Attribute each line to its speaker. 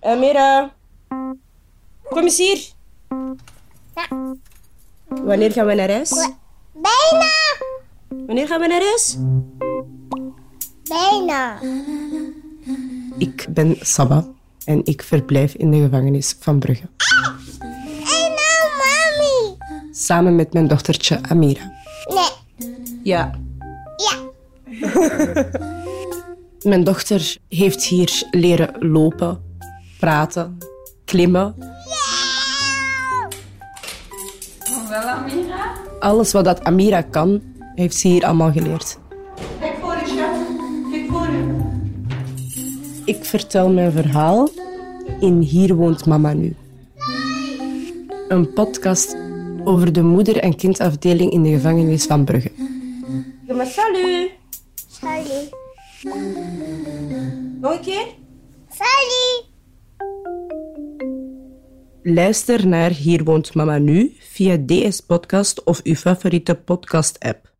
Speaker 1: Eh, Mera, kom eens hier.
Speaker 2: Ja.
Speaker 1: Wanneer gaan we naar huis?
Speaker 2: Bijna!
Speaker 1: Wanneer gaan we naar huis?
Speaker 2: Bijna!
Speaker 3: Ik ben Saba en ik verblijf in de gevangenis van Brugge.
Speaker 2: En nou, mami!
Speaker 3: Samen met mijn dochtertje Amira.
Speaker 2: Nee,
Speaker 3: Ja,
Speaker 2: ja,
Speaker 3: mijn dochter heeft hier leren lopen, praten, klimmen. Alles wat dat Amira kan, heeft ze hier allemaal geleerd.
Speaker 4: Kijk voor je, schat. Kijk voor je.
Speaker 3: Ik vertel mijn verhaal in Hier woont mama nu. Een podcast over de moeder- en kindafdeling in de gevangenis van Brugge.
Speaker 1: Doe maar salut.
Speaker 2: sorry.
Speaker 1: Nog een keer?
Speaker 2: Sorry!
Speaker 3: Luister naar Hier woont mama nu via DS Podcast of uw favoriete podcast-app.